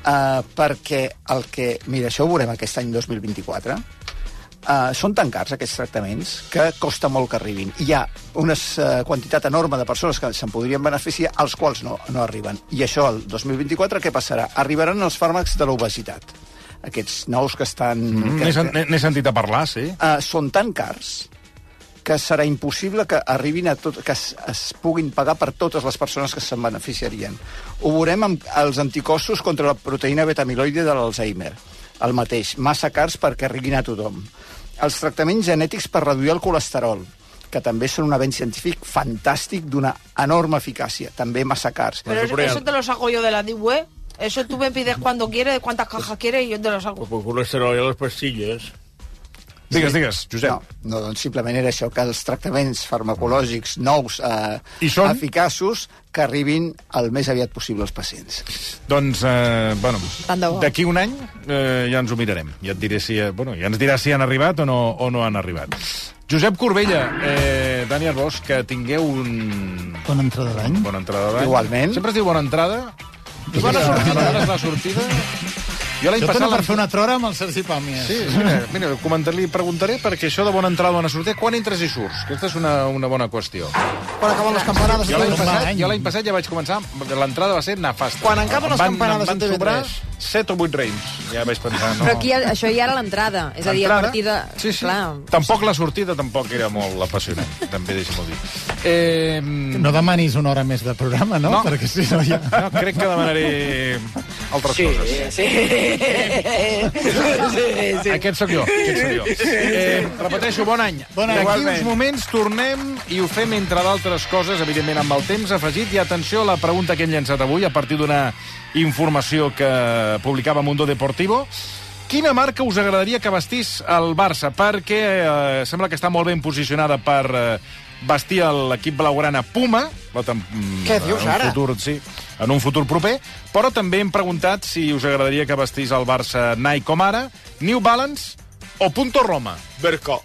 Speaker 4: Uh, perquè el que... Mira, això ho veurem aquest any 2024. Uh, són tan cars aquests tractaments que costa molt que arribin. Hi ha una uh, quantitat enorme de persones que se'n podrien beneficiar, als quals no, no arriben. I això el 2024 què passarà? Arribaran els fàrmacs de l'obesitat. Aquests nous que estan...
Speaker 1: Mm,
Speaker 4: que-
Speaker 1: N'he sen-
Speaker 4: que-
Speaker 1: n'he- n'he sentit a parlar, sí.
Speaker 4: eh, són tan cars que serà impossible que arribin a tot, que es, es puguin pagar per totes les persones que se'n beneficiarien. Ho veurem amb els anticossos contra la proteïna betamiloide de l'Alzheimer. El mateix, massa cars perquè arribin a tothom. Els tractaments genètics per reduir el colesterol, que també són un avenç científic fantàstic d'una enorme eficàcia, també massa cars.
Speaker 6: Pero eso, eso te lo saco yo de la deep web. Eso tú me pides cuando quieres, cuántas cajas quieres y yo te lo saco.
Speaker 7: Pues colesterol i les pastilles.
Speaker 1: Digues, digues, Josep.
Speaker 4: No, no, doncs simplement era això, que els tractaments farmacològics nous eh,
Speaker 1: I són?
Speaker 4: eficaços que arribin el més aviat possible als pacients.
Speaker 1: Doncs, eh, bueno,
Speaker 3: Tant de bo.
Speaker 1: d'aquí un any eh, ja ens ho mirarem. Ja et diré si, eh, bueno, ja ens diràs si han arribat o no, o no han arribat. Josep Corbella, eh, Dani Arbós, que tingueu un...
Speaker 5: Bona entrada d'any.
Speaker 1: Bona entrada d'any.
Speaker 4: Igualment.
Speaker 1: Sempre es diu bona entrada. I bona sortida. Ara és la sortida. Jo l'any
Speaker 5: Jo
Speaker 1: passat...
Speaker 5: tenia per
Speaker 1: l'any-
Speaker 5: fer una trora amb el Sergi Pàmies.
Speaker 1: Sí, mira, mira comentar, li preguntaré perquè això de bona entrada, bona sortida, quan entres i surts? Aquesta és una, una bona qüestió.
Speaker 7: Quan acaben les campanades...
Speaker 1: Jo l'any
Speaker 5: Bon
Speaker 1: passat, mm.
Speaker 5: any.
Speaker 1: jo l'any passat ja vaig començar, l'entrada va ser nefasta.
Speaker 7: Quan encaven les
Speaker 1: Em van-
Speaker 7: campanades
Speaker 1: em van
Speaker 7: en TV3.
Speaker 1: sobrar 7 o 8 raïms. Ja vaig pensar, no...
Speaker 3: Però aquí, ha- això ja era l'entrada. És a dir, a
Speaker 1: Entrada?
Speaker 3: partir de...
Speaker 1: Sí, sí.
Speaker 3: Clar,
Speaker 1: Tampoc la sortida tampoc era molt apassionant, també deixa'm-ho dir. Eh, no,
Speaker 5: No demanis una hora més de programa, no?
Speaker 1: No.
Speaker 5: Perquè si no ja...
Speaker 1: crec que demanaré altres sí. coses.
Speaker 7: Sí. sí, sí.
Speaker 1: Aquest sóc jo, aquest sóc jo. Eh, repeteixo, bon any.
Speaker 5: Bon any.
Speaker 1: D'aquí
Speaker 5: Igualment.
Speaker 1: uns moments tornem i ho fem, entre d'altres coses, evidentment amb el temps afegit, i atenció a la pregunta que hem llançat avui a partir d'una informació que publicava Mundo Deportivo. Quina marca us agradaria que vestís el Barça? Perquè eh, sembla que està molt ben posicionada per eh, vestir l'equip blaugrana Puma. La tem-
Speaker 7: Què dius,
Speaker 1: en un
Speaker 7: ara?
Speaker 1: Futur, sí, en un futur proper. Però també hem preguntat si us agradaria que vestís el Barça Nike com ara, New Balance o Punto Roma.
Speaker 2: Berca.